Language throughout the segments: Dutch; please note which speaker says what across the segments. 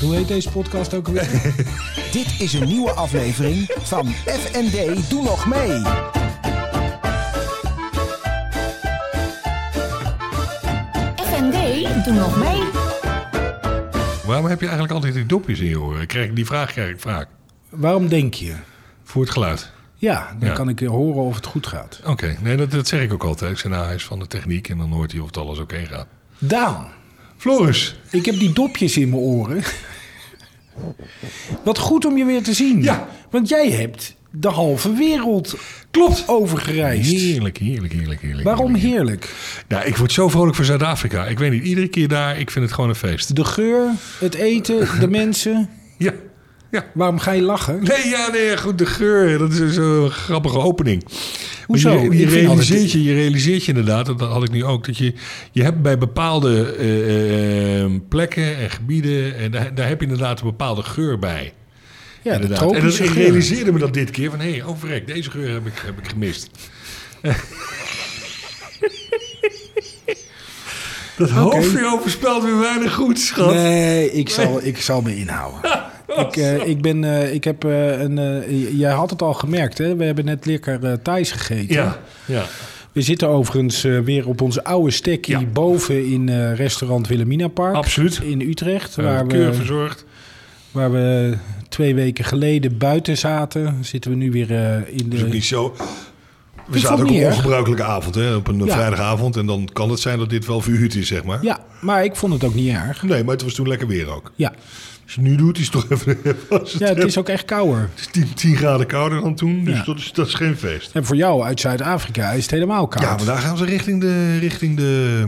Speaker 1: Hoe heet deze podcast ook alweer?
Speaker 2: Dit is een nieuwe aflevering van FND Doe Nog Mee.
Speaker 3: FND, doe nog mee.
Speaker 4: Waarom heb je eigenlijk altijd die dopjes in je oren? Krijg ik die vraag krijg ik vaak.
Speaker 1: Waarom denk je?
Speaker 4: Voor het geluid.
Speaker 1: Ja, dan
Speaker 4: Ja.
Speaker 1: kan ik eh, horen of het goed gaat.
Speaker 4: Oké, nee, dat, dat zeg ik ook altijd. Ik zeg, nou, hij is van de techniek en dan hoort hij of het alles oké gaat.
Speaker 1: Daan,
Speaker 4: Floris.
Speaker 1: ik heb die dopjes in mijn oren. Wat goed om je weer te zien.
Speaker 4: Ja.
Speaker 1: Want jij hebt de halve wereld
Speaker 4: Klopt.
Speaker 1: overgereisd.
Speaker 4: Heerlijk, heerlijk, heerlijk, heerlijk.
Speaker 1: Waarom
Speaker 4: heerlijk.
Speaker 1: heerlijk?
Speaker 4: Nou, ik word zo vrolijk voor Zuid-Afrika. Ik weet niet, iedere keer daar, ik vind het gewoon een feest.
Speaker 1: De geur, het eten, de mensen.
Speaker 4: Ja.
Speaker 1: Waarom ga je lachen?
Speaker 4: Nee, ja, nee, goed, de geur. Dat is zo'n grappige opening.
Speaker 1: Hoezo?
Speaker 4: Maar Je, je
Speaker 1: Ik vind
Speaker 4: realiseert
Speaker 1: altijd-
Speaker 4: je, je realiseert je inderdaad, dat had ik nu ook, dat je, je hebt bij bepaalde eh, eh, plekken en gebieden, en daar, daar heb je inderdaad een bepaalde geur bij.
Speaker 1: Ja, de
Speaker 4: Inderdaad.
Speaker 1: tropische
Speaker 4: en dat, ik
Speaker 1: geur.
Speaker 4: realiseerde me dat dit keer van hé, hey, oh verrek, deze geur heb ik, heb ik gemist. dat hoofdje overspelt weer weinig goed, schat.
Speaker 1: Nee, ik zal, ik zal me inhouden. ik, eh, ik, ben, eh, ik heb eh, een. eh, j- jij had het al gemerkt, hè? We hebben net lekker eh, Thais gegeten.
Speaker 4: Ja, ja.
Speaker 1: We zitten overigens eh, weer op onze oude stekkie
Speaker 4: Ja.
Speaker 1: boven in eh, restaurant Wilhelmina Park.
Speaker 4: absoluut.
Speaker 1: In Utrecht,
Speaker 4: Eh,
Speaker 1: waar,
Speaker 4: Keur
Speaker 1: we,
Speaker 4: verzorgd.
Speaker 1: waar we twee weken geleden buiten zaten. Zitten we nu weer eh, in
Speaker 4: Dus is ook
Speaker 1: de.
Speaker 4: niet zo. We
Speaker 1: Ik vond
Speaker 4: zaten ook
Speaker 1: niet
Speaker 4: een
Speaker 1: erg.
Speaker 4: ongebruikelijke avond, hè, op een eh,
Speaker 1: Ja.
Speaker 4: vrijdagavond. En dan kan het zijn dat dit wel verhuurd is, zeg maar.
Speaker 1: Ja, maar ik vond het ook niet erg.
Speaker 4: Nee, maar het was toen lekker weer ook.
Speaker 1: Ja,
Speaker 4: Als je het nu doet, is het toch even... was
Speaker 1: ja het
Speaker 4: even-
Speaker 1: is ook echt kouder.
Speaker 4: het is 10, 10 graden kouder dan toen, dus
Speaker 1: Ja.
Speaker 4: dat, is, dat is geen feest.
Speaker 1: En voor jou uit Zuid-Afrika is het helemaal koud.
Speaker 4: Ja, maar daar gaan ze richting de, richting de,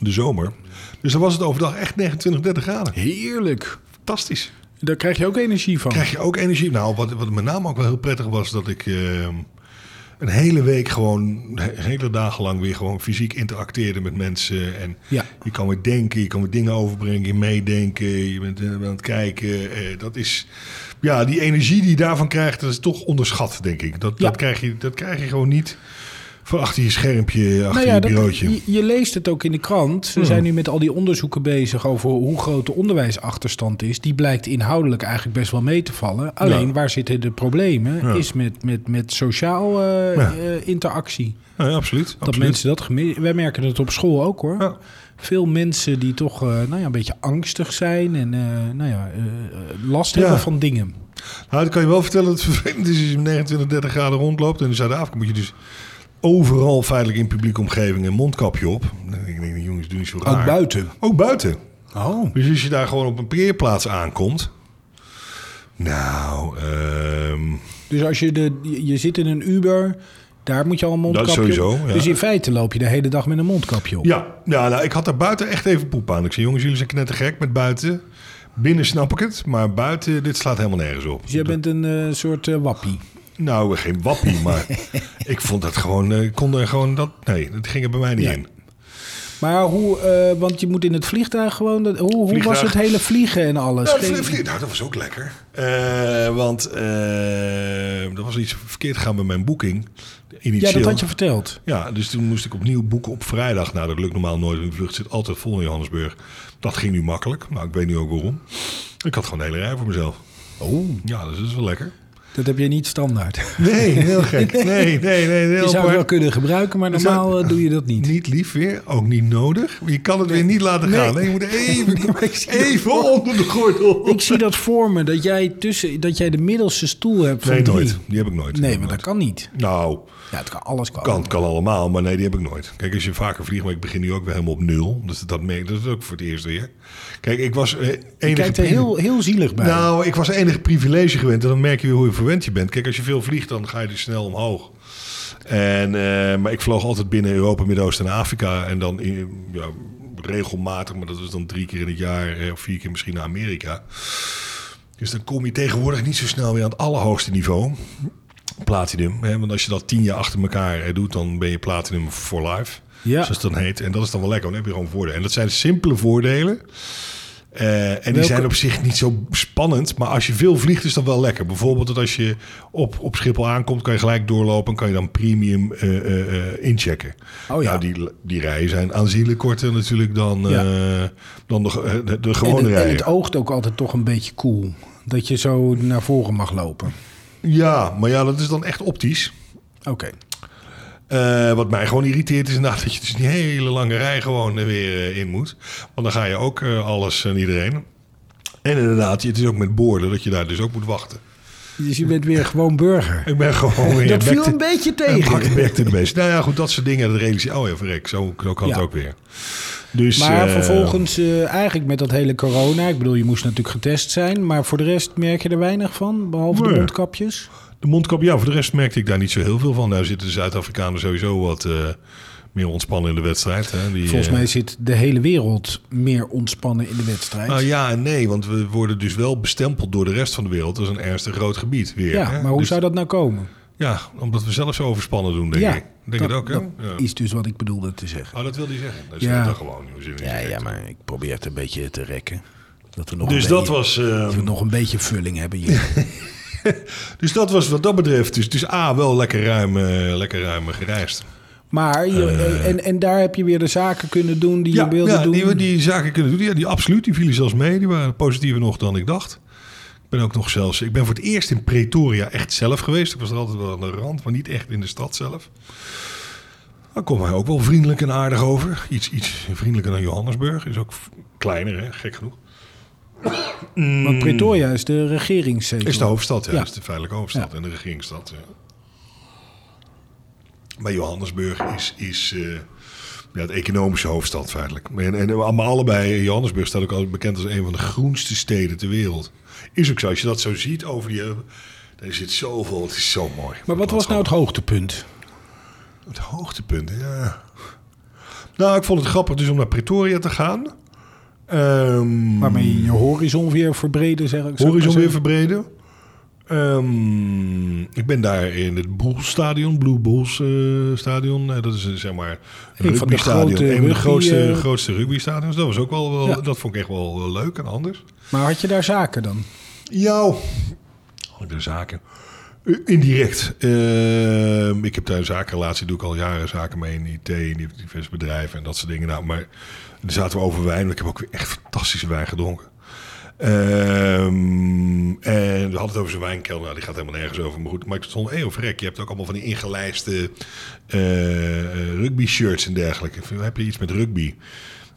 Speaker 4: de zomer. Dus dan was het overdag echt 29, 30 graden.
Speaker 1: Heerlijk.
Speaker 4: Fantastisch.
Speaker 1: Daar krijg je ook energie van.
Speaker 4: Krijg je ook energie. Nou, wat, wat met name ook wel heel prettig was, dat ik eh, een hele week gewoon, he- hele dagen lang weer gewoon fysiek interacteerde met mensen. En
Speaker 1: Ja.
Speaker 4: je kan weer denken, je kan weer dingen overbrengen, je meedenken, je bent eh, aan het kijken. Eh, dat is, ja, die energie die je daarvan krijgt, dat is toch onderschat, denk ik. Dat,
Speaker 1: Ja.
Speaker 4: dat, krijg, je, dat krijg je gewoon niet van achter je schermpje, achter
Speaker 1: Nou ja,
Speaker 4: je
Speaker 1: dat-
Speaker 4: bureautje. Hmm.
Speaker 1: je, je leest het ook in de krant. Ze zijn nu met al die onderzoeken bezig over hoe groot de onderwijsachterstand is. Die blijkt inhoudelijk eigenlijk best wel mee te vallen. Alleen waar zitten de problemen?
Speaker 4: Ja.
Speaker 1: Is met, met, met sociaal eh,
Speaker 4: Ja.
Speaker 1: eh, interactie.
Speaker 4: Ja, absoluut.
Speaker 1: Dat
Speaker 4: absoluut.
Speaker 1: mensen dat gemist. Wij merken het op school ook hoor.
Speaker 4: Ja.
Speaker 1: Veel mensen die toch eh, nou ja, een beetje angstig zijn en eh, nou ja, eh, eh, last hebben
Speaker 4: Ja.
Speaker 1: van dingen.
Speaker 4: Nou, dat kan je wel vertellen dat het vervelend is als je met 29, 30 graden rondloopt. En in Zuid-Afrika moet je dus overal feitelijk in publieke omgeving een mondkapje op. Dan denk ik, jongens, doe niet zo raar.
Speaker 1: Ook buiten.
Speaker 4: Ook buiten.
Speaker 1: Oh.
Speaker 4: Dus als je daar gewoon op een parkeerplaats aankomt. Nou, ehm,
Speaker 1: Dus als je, de, je- je zit in een Uber, daar moet je al een
Speaker 4: is
Speaker 1: mondkapje op.
Speaker 4: sowieso, ja.
Speaker 1: Dus in feite loop je de hele dag met een mondkapje op.
Speaker 4: ja, ja nou, ik had daar buiten echt even poep aan. Ik zei, jongens, jullie zijn knettergek met buiten. Binnen snap ik het, maar buiten, dit slaat helemaal nergens op.
Speaker 1: Dus jij bent een eh, soort eh, wappie.
Speaker 4: Nou, geen wappie, maar ik vond dat gewoon, eh, ik kon er gewoon dat, nee, dat ging er bij mij niet
Speaker 1: Ja.
Speaker 4: in.
Speaker 1: Maar hoe, eh, want je moet in het vliegtuig gewoon... dat- hoe, hoe was
Speaker 4: Vliegtuig.
Speaker 1: het hele vliegen en alles?
Speaker 4: Nou,
Speaker 1: Geen-
Speaker 4: vlie- vlie- nou, dat was ook lekker. Eh, want eh, er was iets verkeerd gegaan met mijn boeking.
Speaker 1: ja,
Speaker 4: Initieel.
Speaker 1: dat had je verteld.
Speaker 4: Ja, dus toen moest ik opnieuw boeken op vrijdag. Nou, dat lukt normaal nooit. want De vlucht zit altijd vol in Johannesburg. Dat ging nu makkelijk. Nou, ik weet nu ook waarom. Ik had gewoon een hele rij voor mezelf.
Speaker 1: Oh.
Speaker 4: Ja, dus dat is wel lekker.
Speaker 1: Dat heb je niet standaard.
Speaker 4: Nee, heel gek. Nee, nee, nee.
Speaker 1: Je
Speaker 4: heel
Speaker 1: zou het
Speaker 4: apart.
Speaker 1: wel kunnen gebruiken, maar
Speaker 4: zou-
Speaker 1: normaal eh, doe je dat niet.
Speaker 4: Niet lief weer, ook niet nodig. Je kan het weer niet laten
Speaker 1: Nee.
Speaker 4: gaan. Nee, je moet even,
Speaker 1: Nee, maar ik zie
Speaker 4: even onder de gordel.
Speaker 1: Ik zie dat voor me, dat jij, tussen, dat jij de middelste stoel hebt van
Speaker 4: Nee,
Speaker 1: drie.
Speaker 4: nooit. Die heb ik nooit.
Speaker 1: Nee,
Speaker 4: maar
Speaker 1: maar dat kan niet.
Speaker 4: Nou,
Speaker 1: Ja, het kan alles kan.
Speaker 4: Kan, kan allemaal, maar nee, die heb ik nooit. Kijk, als je vaker vliegt, maar ik begin nu ook weer helemaal op nul. Dus dat, merk, dat is ook voor het eerst weer. Kijk, ik was eh,
Speaker 1: Je
Speaker 4: enige...
Speaker 1: kijkt er
Speaker 4: pri-
Speaker 1: heel, heel zielig bij.
Speaker 4: Nou, ik was enige privilege gewend. En dan merk je weer hoe je verwend je bent. Kijk, als je veel vliegt, dan ga je dus snel omhoog. En, eh, maar ik vloog altijd binnen Europa, Midden-Oosten en Afrika. En dan in- ja, regelmatig, maar dat is dan drie keer in het jaar... eh, of vier keer misschien naar Amerika. Dus dan kom je tegenwoordig niet zo snel weer aan het allerhoogste niveau. Platinum. Hè? Want als je dat tien jaar achter elkaar eh, doet, dan ben je platinum for life.
Speaker 1: Ja.
Speaker 4: Zoals het dan heet. En dat is dan wel lekker. want Dan heb je gewoon voordelen. En dat zijn simpele voordelen. Eh, en die
Speaker 1: Welke-
Speaker 4: zijn op zich niet zo spannend. Maar als je veel vliegt, is dat wel lekker. Bijvoorbeeld dat als je op, op Schiphol aankomt, kan je gelijk doorlopen en kan je dan premium eh, eh, eh, inchecken.
Speaker 1: Oh ja.
Speaker 4: Nou, die, die rijen zijn aanzienlijk korter natuurlijk dan,
Speaker 1: Ja.
Speaker 4: eh, dan de, ge- eh, de, de
Speaker 1: En
Speaker 4: gewone
Speaker 1: het, en
Speaker 4: rijen.
Speaker 1: het oogt ook altijd toch een beetje cool. Dat je zo naar voren mag lopen.
Speaker 4: Ja, maar ja, dat is dan echt optisch.
Speaker 1: Oké.
Speaker 4: Eh, wat mij gewoon irriteert is inderdaad dat je dus een hele lange rij gewoon er weer eh, in moet. Want dan ga je ook eh, alles en iedereen. En inderdaad, het is ook met boorden dat je daar dus ook moet wachten.
Speaker 1: Dus je bent weer gewoon burger.
Speaker 4: Ik ben gewoon weer...
Speaker 1: Dat
Speaker 4: back
Speaker 1: viel
Speaker 4: to-
Speaker 1: een beetje
Speaker 4: eh, back-
Speaker 1: tegen.
Speaker 4: Back to the base. Nou ja, goed, dat soort dingen, dat realiseer Oh ja, verrek, zo, zo kan
Speaker 1: Ja.
Speaker 4: het ook weer. Dus,
Speaker 1: Maar
Speaker 4: eh,
Speaker 1: vervolgens, eh, eigenlijk met dat hele corona. Ik bedoel, je moest natuurlijk getest zijn. Maar voor de rest merk je er weinig van. Behalve de
Speaker 4: Nee.
Speaker 1: mondkapjes.
Speaker 4: De mondkap, ja, voor de rest merkte ik daar niet zo heel veel van. Daar zitten de Zuid-Afrikanen sowieso wat eh, meer ontspannen in de wedstrijd. Hè? Die,
Speaker 1: Volgens
Speaker 4: eh,
Speaker 1: mij zit de hele wereld meer ontspannen in de wedstrijd.
Speaker 4: Nou ja en nee, want we worden dus wel bestempeld door de rest van de wereld als een ernstig groot gebied weer.
Speaker 1: ja,
Speaker 4: hè?
Speaker 1: maar hoe
Speaker 4: Dus-
Speaker 1: zou dat nou komen?
Speaker 4: Ja, omdat we zelf zo overspannen doen, denk
Speaker 1: ja,
Speaker 4: ik. Denk het ook, hè? Ja.
Speaker 1: is dus wat ik bedoelde te zeggen.
Speaker 4: Oh, dat wil hij zeggen. Dat is
Speaker 1: Ja.
Speaker 4: dan gewoon. joh, zin in
Speaker 1: Ja,
Speaker 4: je
Speaker 1: ja,
Speaker 4: reet.
Speaker 1: maar ik probeer het een beetje te rekken. Dat we nog
Speaker 4: Dus
Speaker 1: een
Speaker 4: dat
Speaker 1: beetje,
Speaker 4: was... eh,
Speaker 1: dat we nog een beetje vulling hebben hier.
Speaker 4: dus dat was wat dat betreft. Dus, dus A, wel lekker ruim, eh, lekker ruim gereisd.
Speaker 1: Maar je- en, en daar heb je weer de zaken kunnen doen die je wilde
Speaker 4: Eh. ja,
Speaker 1: doen.
Speaker 4: Die, we die zaken kunnen doen. Ja, die absoluut. Die vielen zelfs mee. Die waren positiever nog dan ik dacht. Ik ben ook nog zelfs... Ik ben voor het eerst in Pretoria echt zelf geweest. Ik was er altijd wel aan de rand, maar niet echt in de stad zelf. Daar komt hij ook wel vriendelijk en aardig over. Iets, iets vriendelijker dan Johannesburg. Is ook v- kleiner, hè? gek genoeg.
Speaker 1: Want Pretoria is de regeringszetel.
Speaker 4: Mm. Is de hoofdstad, ja.
Speaker 1: Ja.
Speaker 4: Is de feitelijke hoofdstad
Speaker 1: Ja.
Speaker 4: en de regeringsstad, ja. Maar Johannesburg is, is eh, ja, de economische hoofdstad feitelijk. En, en maar allebei, Johannesburg staat ook altijd bekend als een van de groenste steden ter wereld. Is ook zo, als je dat zo ziet over die... eh, Er zit zoveel, het is zo mooi.
Speaker 1: Maar wat was nou het hoogtepunt?
Speaker 4: Het hoogtepunt, ja. Nou, ik vond het grappig dus om naar Pretoria te gaan. Ehm,
Speaker 1: Waarmee je je horizon weer verbreden, zeg ik. zou ik
Speaker 4: Horizon
Speaker 1: maar zeggen.
Speaker 4: weer verbreden. Ehm, ik ben daar in het Bulls stadion, Blue Bulls eh, stadion. Eh, dat is eh, zeg maar een
Speaker 1: Een van de
Speaker 4: rugby stadion.
Speaker 1: grote
Speaker 4: Een van de
Speaker 1: rugby,
Speaker 4: grootste,
Speaker 1: eh,
Speaker 4: grootste rugby stadions. Dat was ook wel, wel
Speaker 1: Ja.
Speaker 4: dat vond ik echt wel, wel leuk en anders.
Speaker 1: Maar had je daar zaken dan?
Speaker 4: Jou. Had ik daar zaken. Eh, Indirect. Ehm, ik heb daar een zakenrelatie, doe ik al jaren zaken mee in IT, in diverse bedrijven en dat soort dingen. Nou, maar daar zaten we over wijn, want ik heb ook weer echt fantastische wijn gedronken. Ehm, en we hadden het over zijn wijnkelder. Nou, die gaat helemaal nergens over. Maar goed, maar ik stond, hé, of vrek, je hebt ook allemaal van die ingelijste rugby-shirts en dergelijke. Ik vind, Heb je iets met rugby?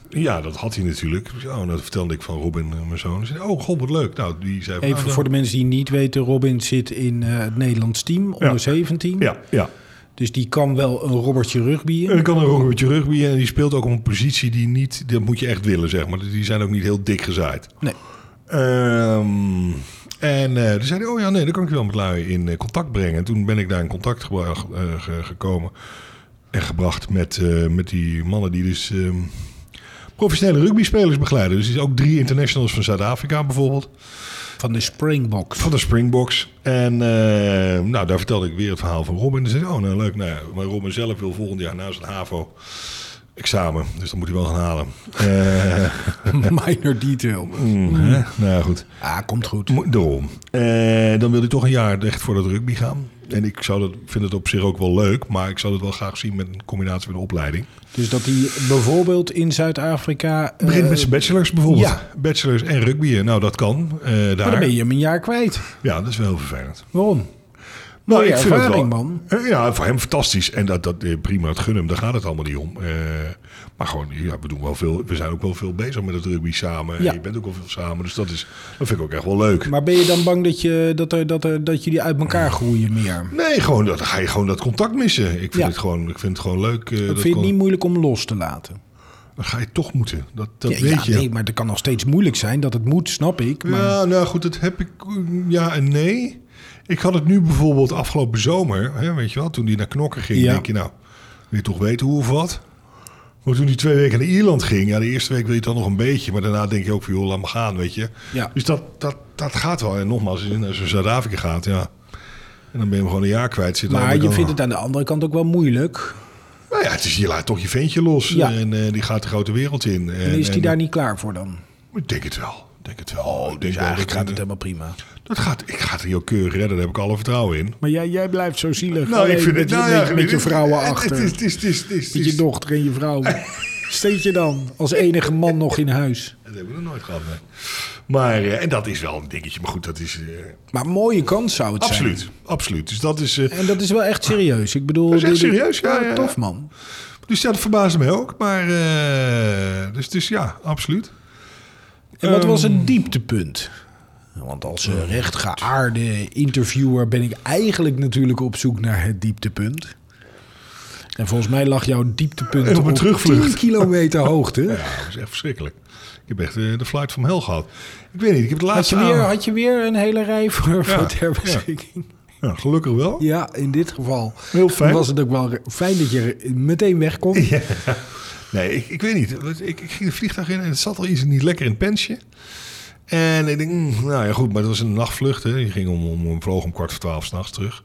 Speaker 4: Ja, dat had hij natuurlijk. Ja, en dat vertelde ik van Robin, eh, mijn zoon. Hij zei, oh, god, wat leuk. Nou, die zei... van,
Speaker 1: Even
Speaker 4: nou,
Speaker 1: voor de mensen die niet weten, Robin zit in eh, het Nederlands team, onder 17.
Speaker 4: Ja, Eh. ja.
Speaker 1: Dus die kan wel een robbertje rugbyen.
Speaker 4: En dan kan er ook een beetje rugby en die speelt ook op een positie die niet... Dat moet je echt willen, zeg maar. Die zijn ook niet heel dik gezaaid.
Speaker 1: Nee.
Speaker 4: Ehm, en eh toen zei hij, oh ja, nee, dan kan ik je wel met lui in eh, contact brengen. En toen ben ik daar in contact gebra- eh, ge- gekomen en gebracht met, eh, met die mannen die dus ehm, professionele rugbyspelers begeleiden. Dus er zijn ook drie internationals van Zuid-Afrika bijvoorbeeld,
Speaker 1: Van de Springboks.
Speaker 4: van de Springboks. En eh, nou, daar vertelde ik weer het verhaal van Robin. En zei hij, oh nou leuk, nou, ja, maar Robin zelf wil volgend jaar na zijn HAVO... Examen, dus dat moet hij wel gaan halen. Eh,
Speaker 1: Minor detail.
Speaker 4: mm, hè? Nou ja, goed.
Speaker 1: Ah, komt goed.
Speaker 4: Mo- Daarom. Eh, dan wil hij toch een jaar echt voor dat rugby gaan. En ik zou dat, vind het op zich ook wel leuk, maar ik zou het wel graag zien met een combinatie met een opleiding.
Speaker 1: Dus dat hij bijvoorbeeld in Zuid-Afrika... eh,
Speaker 4: Begint met zijn bachelors bijvoorbeeld.
Speaker 1: ja.
Speaker 4: Bachelors en rugby. Nou, dat kan. eh,
Speaker 1: maar dan
Speaker 4: daar.
Speaker 1: ben je hem een jaar kwijt.
Speaker 4: Ja, dat is wel heel vervelend.
Speaker 1: Waarom?
Speaker 4: Nou,
Speaker 1: Mooie
Speaker 4: ik vind het
Speaker 1: ervaring,
Speaker 4: wel-
Speaker 1: man.
Speaker 4: Eh, Ja, voor hem fantastisch. En dat, dat eh, prima, het gun hem, daar gaat het allemaal niet om. Eh, maar gewoon, ja, we, doen wel veel, we zijn ook wel veel bezig met het rugby samen.
Speaker 1: Ja.
Speaker 4: En je bent ook wel veel samen, dus dat, is, dat vind ik ook echt wel leuk.
Speaker 1: Maar ben je dan bang dat, je, dat, er, dat, er, dat jullie uit elkaar groeien meer?
Speaker 4: Nee, gewoon, dat- dan ga je gewoon dat contact missen. Ik vind,
Speaker 1: Ja.
Speaker 4: het, gewoon, ik vind het gewoon leuk. eh,
Speaker 1: Ik
Speaker 4: dat
Speaker 1: vind het
Speaker 4: kon-
Speaker 1: niet moeilijk om los te laten.
Speaker 4: Dan ga je toch moeten. Dat, dat
Speaker 1: ja, ja,
Speaker 4: weet je.
Speaker 1: Nee, maar dat kan nog steeds moeilijk zijn. Dat het moet, snap ik. Maar
Speaker 4: Ja, nou goed, dat heb ik. mm, Ja en nee. Ik had het nu bijvoorbeeld afgelopen zomer. Hè, weet je wel, toen die naar Knokken ging.
Speaker 1: Ja.
Speaker 4: Denk je nou, wil je toch weten hoe of wat? Maar toen die twee weken naar Ierland ging. Ja, de eerste week wil je het dan nog een beetje. Maar daarna denk je ook van, joh, laat me gaan, weet je.
Speaker 1: Ja.
Speaker 4: Dus dat, dat, dat gaat wel. En nogmaals, als je naar zo'n Zuid-Afrika gaat, ja. En dan ben je hem gewoon een jaar kwijt. Zit
Speaker 1: Maar je vindt
Speaker 4: het
Speaker 1: het aan de andere kant ook wel moeilijk.
Speaker 4: Nou ja, het is, je laat toch je ventje los.
Speaker 1: Ja.
Speaker 4: En eh, die gaat de grote wereld in. En,
Speaker 1: En is die
Speaker 4: en-
Speaker 1: daar niet klaar voor dan?
Speaker 4: Ik denk het wel. Ik Denk het wel. Oh, ik denk
Speaker 1: Dus
Speaker 4: wel
Speaker 1: eigenlijk
Speaker 4: dat-
Speaker 1: gaat het helemaal prima.
Speaker 4: dat gaat, ik ga het heel keurig redden, daar heb ik alle vertrouwen in.
Speaker 1: Maar jij, jij blijft zo zielig.
Speaker 4: Nou,
Speaker 1: alleen
Speaker 4: ik vind
Speaker 1: met,
Speaker 4: het nou
Speaker 1: je,
Speaker 4: ja,
Speaker 1: met, met je
Speaker 4: het-
Speaker 1: vrouwen
Speaker 4: het-
Speaker 1: achter.
Speaker 4: Het is, het is, het is, het
Speaker 1: met je
Speaker 4: is.
Speaker 1: dochter en je vrouw. Steed je dan als enige man nog in huis.
Speaker 4: Dat hebben we nog nooit gehad. nee. Maar, eh, en dat is wel een dingetje, maar goed, dat is. eh,
Speaker 1: Maar mooie kans zou het
Speaker 4: absoluut,
Speaker 1: zijn.
Speaker 4: absoluut. Dus dat is. eh,
Speaker 1: En dat is wel echt serieus. Ik bedoel,
Speaker 4: Dat is echt
Speaker 1: dit- dit-
Speaker 4: serieus, ja, ja, ja.
Speaker 1: Tof man.
Speaker 4: dus ja, dat verbaasde mij ook. Maar. eh, dus, dus ja, absoluut.
Speaker 1: En wat
Speaker 4: Ehm,
Speaker 1: was een dieptepunt? Want als eh, rechtgeaarde interviewer ben ik eigenlijk natuurlijk op zoek naar het dieptepunt. En volgens mij lag jouw dieptepunt
Speaker 4: En op
Speaker 1: op,
Speaker 4: een terugvlucht.
Speaker 1: 10 kilometer hoogte.
Speaker 4: Ja, dat is echt verschrikkelijk. Ik heb echt eh, de flight van hel gehad. Ik weet niet, ik heb het
Speaker 1: Had je,
Speaker 4: laatste.
Speaker 1: weer,
Speaker 4: aan-
Speaker 1: had je weer een hele rij voor, voor ter
Speaker 4: Ah, ja.
Speaker 1: beschikking?
Speaker 4: Ja, gelukkig wel.
Speaker 1: Ja. in dit geval
Speaker 4: Heel fijn.
Speaker 1: was het ook wel re- fijn dat je re- meteen wegkomt.
Speaker 4: Ja. Nee, ik, ik weet niet. Ik, ik ging het vliegtuig in en het zat al iets niet lekker in het pensje. En ik denk, mm, nou ja goed, maar dat was een nachtvlucht. Hè. Je ging om, om, om, vloog om kwart voor twaalf s'nachts terug.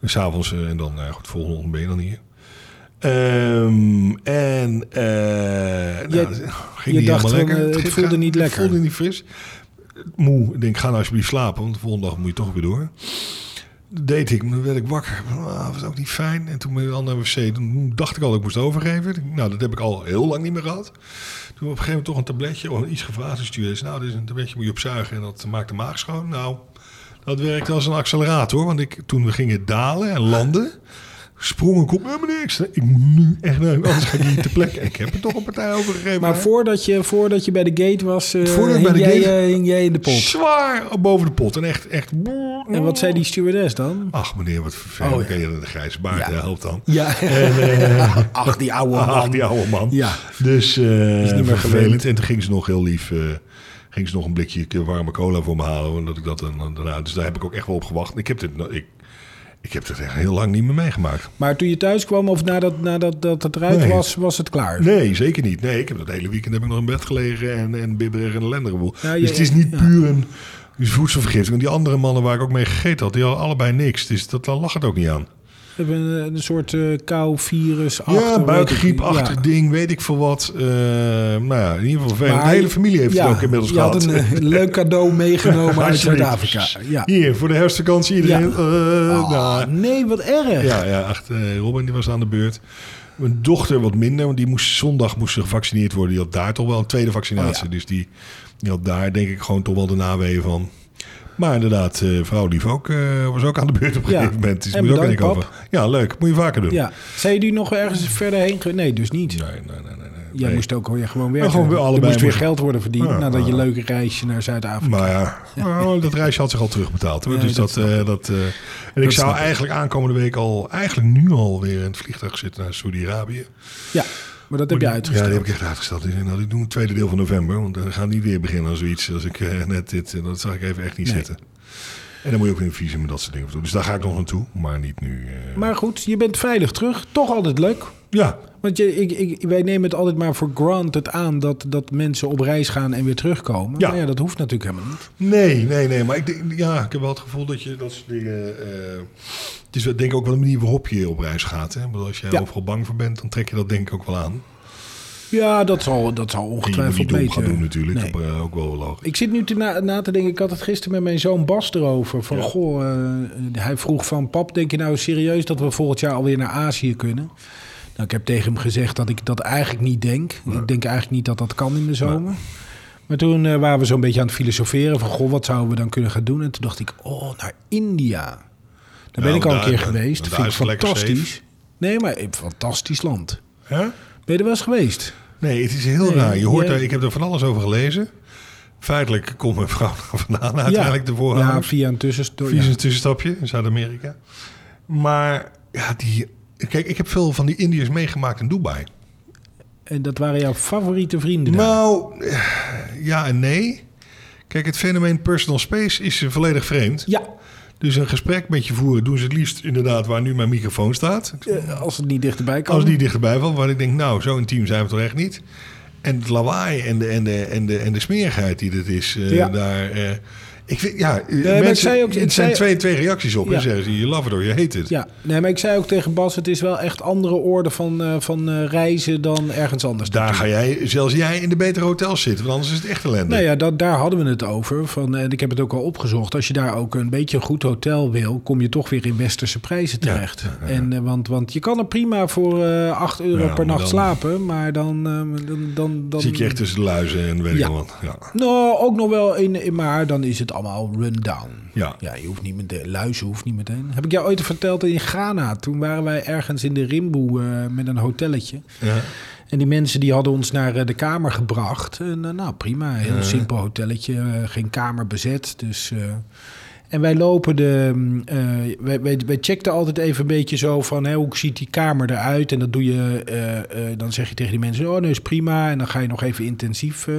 Speaker 4: En s'avonds eh, en dan, nou ja goed, volgende ochtend ben je dan hier. Ehm, en eh nou,
Speaker 1: Jij-
Speaker 4: dat ging
Speaker 1: je
Speaker 4: niet
Speaker 1: dacht
Speaker 4: helemaal
Speaker 1: van,
Speaker 4: lekker.
Speaker 1: eh, het
Speaker 4: ging-
Speaker 1: voelde
Speaker 4: gaat-
Speaker 1: niet lekker.
Speaker 4: Het voelde niet fris. Moe, ik denk, ga nou alsjeblieft slapen, want de volgende dag moet je toch weer door. Dat deed ik, maar toen werd ik wakker. Ah, Dat was ook niet fijn. En toen ben ik al naar de wc. Toen dacht ik al dat ik moest overgeven. Nou, dat heb ik al heel lang niet meer gehad. Toen op een gegeven moment toch een tabletje of iets gevraagd. Dus die is, nou, dit is een tabletje, moet je opzuigen en dat maakt de maag schoon. Nou, dat werkte als een accelerator. Want ik, toen we gingen dalen en landen, sprong ik op. Eh, meneer, ik zei, ik moet nu echt naar anders ga ik niet te plek. Ik heb er toch een partij overgegeven.
Speaker 1: Maar voordat je, voordat je bij de gate was, eh
Speaker 4: Voordat ik
Speaker 1: hing,
Speaker 4: bij de
Speaker 1: jij,
Speaker 4: gate-
Speaker 1: eh, hing jij in de pot.
Speaker 4: Zwaar boven de pot. En echt, echt...
Speaker 1: En wat zei die stewardess dan?
Speaker 4: Ach meneer, wat vervelend.
Speaker 1: Oh, ja.
Speaker 4: Ken je de grijze baard?
Speaker 1: Ja.
Speaker 4: Ja, helpt dan.
Speaker 1: Ja,
Speaker 4: Eh,
Speaker 1: ach die oude man.
Speaker 4: Ach, die oude man.
Speaker 1: Ja.
Speaker 4: Dus eh
Speaker 1: niet meer
Speaker 4: vervelend.
Speaker 1: gewend.
Speaker 4: En toen ging ze nog heel lief... eh, ging ze nog een blikje warme cola voor me halen. Omdat ik dat dan, dan- daarna, dus daar heb ik ook echt wel op gewacht. Ik heb dit, nou, ik, ik heb dit echt heel lang niet meer meegemaakt.
Speaker 1: Maar toen je thuis kwam of nadat, nadat dat het eruit
Speaker 4: Nee.
Speaker 1: was, was het klaar?
Speaker 4: Nee, zeker niet. Nee, ik heb dat hele weekend heb ik nog in bed gelegen en, en bibberig en ellenderboel.
Speaker 1: Ja, je-
Speaker 4: dus het is niet puur een voedselvergiftiging. Want die andere mannen waar ik ook mee gegeten had, die hadden allebei niks. Dus dat, daar lag het ook niet aan.
Speaker 1: We hebben een, een soort eh kou, virus,
Speaker 4: Ja, buikgriep, achter ding, weet ik veel wat. Eh, nou ja, in ieder geval vervelend. De hele familie heeft het ook inmiddels
Speaker 1: je
Speaker 4: gehad.
Speaker 1: had een, eh, leuk cadeau meegenomen uit
Speaker 4: Alsjeblieft.
Speaker 1: Zuid-Afrika. Ja.
Speaker 4: Hier, voor de herfstvakantie iedereen.
Speaker 1: Ja.
Speaker 4: eh, nou,
Speaker 1: Ah, nee, wat erg.
Speaker 4: ja, ja echt, eh, Robin die was aan de beurt. Mijn dochter wat minder, want die moest zondag moest ze gevaccineerd worden. Die had daar toch wel een tweede vaccinatie.
Speaker 1: Oh, ja.
Speaker 4: Dus die, die had daar denk ik gewoon toch wel de naweeën van. Maar inderdaad, eh vrouw Lief ook, eh, was ook aan de beurt op een
Speaker 1: Ja.
Speaker 4: gegeven moment. Dus
Speaker 1: En
Speaker 4: moet je ook aan
Speaker 1: bedankt,
Speaker 4: denken over. Ja, leuk. Moet je vaker doen.
Speaker 1: Ja. Zijn jullie nog ergens verder heen ge- Nee, dus niet.
Speaker 4: Nee, nee, nee, nee, nee.
Speaker 1: Jij
Speaker 4: Nee.
Speaker 1: moest ook weer gewoon werken.
Speaker 4: gewoon weer allebei
Speaker 1: er moest weer
Speaker 4: moest-
Speaker 1: geld worden verdiend
Speaker 4: Ja,
Speaker 1: nadat je
Speaker 4: ja.
Speaker 1: leuke reisje naar Zuid-Afrika.
Speaker 4: Maar ja, nou, dat reisje had zich al terugbetaald. Hoor.
Speaker 1: Nee,
Speaker 4: dus
Speaker 1: dat
Speaker 4: dat, eh, dat, eh, en ik zou
Speaker 1: snap ik.
Speaker 4: eigenlijk aankomende week al, eigenlijk nu al weer in het vliegtuig zitten naar Saudi-Arabië.
Speaker 1: Ja, maar dat heb je
Speaker 4: Ja,
Speaker 1: uitgesteld.
Speaker 4: die heb ik echt uitgesteld. Ik zei, nou, die doen we het tweede deel van november. Want dan gaan die weer beginnen aan zoiets. Als ik eh, net dit, eh, dat zag ik even echt niet
Speaker 1: Nee.
Speaker 4: zitten. En dan moet je ook weer een visum en dat soort dingen voor doen. Dus daar ga ik nog naartoe, maar niet nu. eh.
Speaker 1: Maar goed, je bent veilig terug. Toch altijd leuk.
Speaker 4: ja,
Speaker 1: Want je, ik, ik, wij nemen het altijd maar voor granted aan dat, dat mensen op reis gaan en weer terugkomen.
Speaker 4: Ja.
Speaker 1: Maar ja, dat hoeft natuurlijk helemaal niet.
Speaker 4: nee, nee, nee. Maar ik, denk- ja, ik heb wel het gevoel dat je dat soort dingen... eh, het is wel- denk ik ook wel een manier waarop je op reis gaat. Hè? Want als je
Speaker 1: Ja.
Speaker 4: overal bang voor bent, dan trek je dat denk ik ook wel aan.
Speaker 1: Ja, dat zal, dat zal
Speaker 4: Die je moet
Speaker 1: ongetwijfeld
Speaker 4: niet dom
Speaker 1: beter.
Speaker 4: gaan doen natuurlijk.
Speaker 1: Nee.
Speaker 4: Dat is ook wel logisch.
Speaker 1: Ik zit nu te na, na te denken, ik had het gisteren met mijn zoon Bas erover. Van, goh, eh, hij vroeg van, pap, denk je nou serieus dat we volgend jaar alweer naar Azië kunnen? Nou, ik heb tegen hem gezegd dat ik dat eigenlijk niet denk. Ik denk eigenlijk niet dat dat kan in de zomer. Maar toen eh, waren we zo'n beetje aan het filosoferen van, goh, wat zouden we dan kunnen gaan doen? En toen dacht ik, oh, naar India. Daar ben
Speaker 4: Ja,
Speaker 1: ik al een
Speaker 4: Nou, daar-
Speaker 1: keer
Speaker 4: daar-
Speaker 1: geweest. Dat
Speaker 4: daar
Speaker 1: vind ik
Speaker 4: is het lekker
Speaker 1: fantastisch. Nee, maar een fantastisch land. Ben je er wel eens geweest?
Speaker 4: Nee, het is heel raar. Je hoort
Speaker 1: ja.
Speaker 4: daar, ik heb er van alles over gelezen. Feitelijk komt mijn vrouw daar vandaan uiteindelijk de
Speaker 1: ja,
Speaker 4: voorhouders.
Speaker 1: via een tussenstoor.
Speaker 4: Vies een tussenstapje in Zuid-Amerika. Maar ja, die... Kijk, ik heb veel van die Indiërs meegemaakt in Dubai.
Speaker 1: En dat waren jouw favoriete vrienden daar?
Speaker 4: Nou, eh, ja en nee. Kijk, het fenomeen personal space is eh, volledig vreemd.
Speaker 1: Ja,
Speaker 4: Dus een gesprek met je voeren doen ze het liefst inderdaad waar nu mijn microfoon staat.
Speaker 1: eh, als het niet dichterbij kan.
Speaker 4: Als die dichterbij valt, waar ik denk, nou, zo intiem zijn we toch echt niet. En het lawaai en de, en de, en de, en de smerigheid die dit is eh,
Speaker 1: Ja.
Speaker 4: daar. eh, Ik vind, ja,
Speaker 1: maar ik
Speaker 4: mensen,
Speaker 1: zei ook- ik
Speaker 4: het zijn
Speaker 1: zei-
Speaker 4: twee, twee reacties op.
Speaker 1: Ja.
Speaker 4: hè Zeggen ze, je love it or je heet het.
Speaker 1: Ja, nee, maar ik zei ook tegen Bas, het is wel echt andere orde van, eh, van eh, reizen dan ergens anders.
Speaker 4: Dus Daar ga jij, zelfs jij, in de betere hotels zitten. Want anders is het echt ellende.
Speaker 1: Nou ja, dat, daar hadden we het over. Van, eh, en ik heb het ook al opgezocht. Als je daar ook een beetje een goed hotel wil, kom je toch weer in westerse prijzen terecht. En, eh, want, want je kan er prima voor eh 8 euro
Speaker 4: Ja,
Speaker 1: per
Speaker 4: maar
Speaker 1: nacht
Speaker 4: dan-
Speaker 1: slapen. Maar dan. eh, dan, dan, dan
Speaker 4: Zie ik je echt tussen de luizen en weet
Speaker 1: Ja.
Speaker 4: ik wat. Ja.
Speaker 1: Nou, ook nog wel in, in- maar dan is het allemaal rundown.
Speaker 4: Ja.
Speaker 1: Ja, je hoeft niet meteen, luizen hoeft niet meteen. Heb ik jou ooit verteld in Ghana? Toen waren wij ergens in de Rimboe eh, met een hotelletje.
Speaker 4: Ja.
Speaker 1: En die mensen die hadden ons naar eh, de kamer gebracht. En eh, nou, prima. Heel simpel hotelletje. eh, geen kamer bezet. Dus, eh, en wij lopen de... mm, eh, wij, wij, wij checkten altijd even een beetje zo van... Hè, hoe ziet die kamer eruit? En dat doe je... eh, eh, dan zeg je tegen die mensen... Oh, nee, is prima. En dan ga je nog even intensief... eh.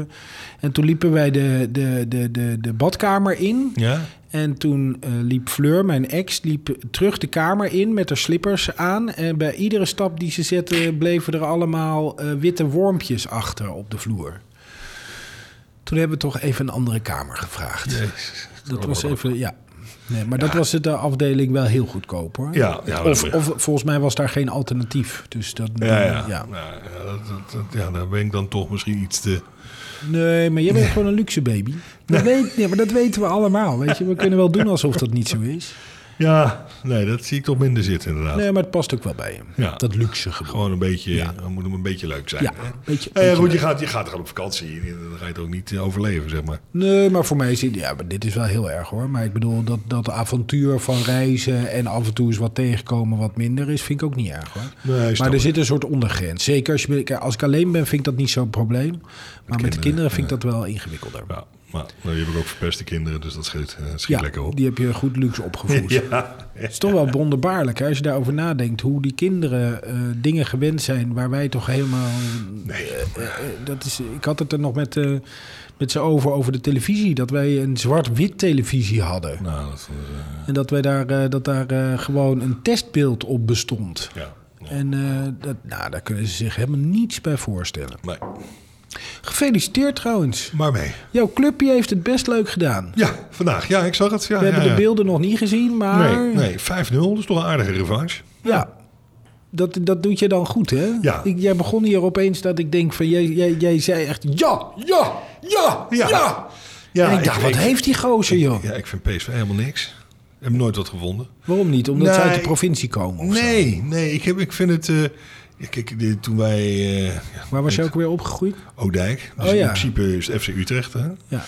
Speaker 1: en toen liepen wij de, de, de, de, de badkamer in.
Speaker 4: Ja?
Speaker 1: En toen eh, liep Fleur, mijn ex, liep terug de kamer in met haar slippers aan. En bij iedere stap die ze zette, bleven er allemaal eh, witte wormpjes achter op de vloer. Toen hebben we toch even een andere kamer gevraagd.
Speaker 4: Oh,
Speaker 1: dat was even, ja. Nee, maar dat was het, de afdeling wel heel goedkoop hoor.
Speaker 4: Ja, ja,
Speaker 1: of,
Speaker 4: wel, ja.
Speaker 1: of volgens mij was daar geen alternatief. Dus dat,
Speaker 4: Ja, ja.
Speaker 1: ja.
Speaker 4: Nou, ja, dat, dat- dat- ja, daar ben ik dan toch misschien iets te...
Speaker 1: Nee, maar jij bent gewoon een luxe baby. Dat, weet, nee, maar dat weten we allemaal. Weet je. We kunnen wel doen alsof dat niet zo is.
Speaker 4: Ja, nee, dat zie ik toch minder zitten inderdaad.
Speaker 1: Nee, maar het past ook wel bij hem.
Speaker 4: Ja.
Speaker 1: Dat luxe gebeuren.
Speaker 4: Gewoon een beetje, dan moet hem een beetje leuk zijn.
Speaker 1: Ja,
Speaker 4: hè?
Speaker 1: beetje-
Speaker 4: Nou ja,
Speaker 1: beetje
Speaker 4: goed, je gaat, je gaat gewoon op vakantie. Dan ga je het ook niet eh, overleven, zeg maar.
Speaker 1: Nee, maar voor mij is dit, ja, maar dit is wel heel erg hoor. Maar ik bedoel, dat, dat avontuur van reizen en af en toe eens wat tegenkomen wat minder is, vind ik ook niet erg hoor.
Speaker 4: Nee, snap
Speaker 1: maar er
Speaker 4: ik.
Speaker 1: zit een soort ondergrens. Zeker als, je, kijk, als ik alleen ben, vind ik dat niet zo'n probleem. Maar met de kinderen vind ik dat wel ingewikkelder.
Speaker 4: Ja, maar nou, die heb ik ook verpeste kinderen, dus dat schiet, eh, schiet lekker op.
Speaker 1: die heb je goed luxe opgevoed.
Speaker 4: Ja,
Speaker 1: Het is toch wel wonderbaarlijk hè, als je daarover nadenkt hoe die kinderen eh, dingen gewend zijn waar wij toch helemaal. Eh, eh, eh, dat is, ik had het er nog met, eh, met ze over, over de televisie. Dat wij een zwart-wit televisie hadden.
Speaker 4: nou, dat, eh,
Speaker 1: En dat, wij daar, eh, dat daar eh, gewoon een testbeeld op bestond.
Speaker 4: ja. ja.
Speaker 1: En eh, dat, nou, daar kunnen ze zich helemaal niets bij voorstellen.
Speaker 4: Nee.
Speaker 1: Gefeliciteerd trouwens.
Speaker 4: Maar mee.
Speaker 1: Jouw clubje heeft het best leuk gedaan.
Speaker 4: Ja, vandaag. Ja, ik zag het. Ja,
Speaker 1: We
Speaker 4: ja,
Speaker 1: hebben de
Speaker 4: ja.
Speaker 1: beelden nog niet gezien, maar
Speaker 4: Nee, nee 5-0, dat is toch een aardige revanche.
Speaker 1: ja, dat, dat doet je dan goed, hè?
Speaker 4: Ja.
Speaker 1: Ik, jij begon hier opeens dat ik denk van, jij, jij, jij zei echt ja, ja, ja, ja.
Speaker 4: ja
Speaker 1: en ik dacht, wat heeft die gozer, joh?
Speaker 4: Ja, ik vind PSV helemaal niks. Ik heb nooit wat gevonden.
Speaker 1: Waarom niet? Omdat ze
Speaker 4: Nee.
Speaker 1: uit de provincie komen of Oh, zo.
Speaker 4: Nee, nee, ik, heb, ik vind het... eh, ja, kijk, de- toen wij... eh, ja,
Speaker 1: Waar was je
Speaker 4: met
Speaker 1: ook weer opgegroeid?
Speaker 4: Oudijk. Dus
Speaker 1: Oh, ja.
Speaker 4: in principe is het FC Utrecht, hè?
Speaker 1: Ja.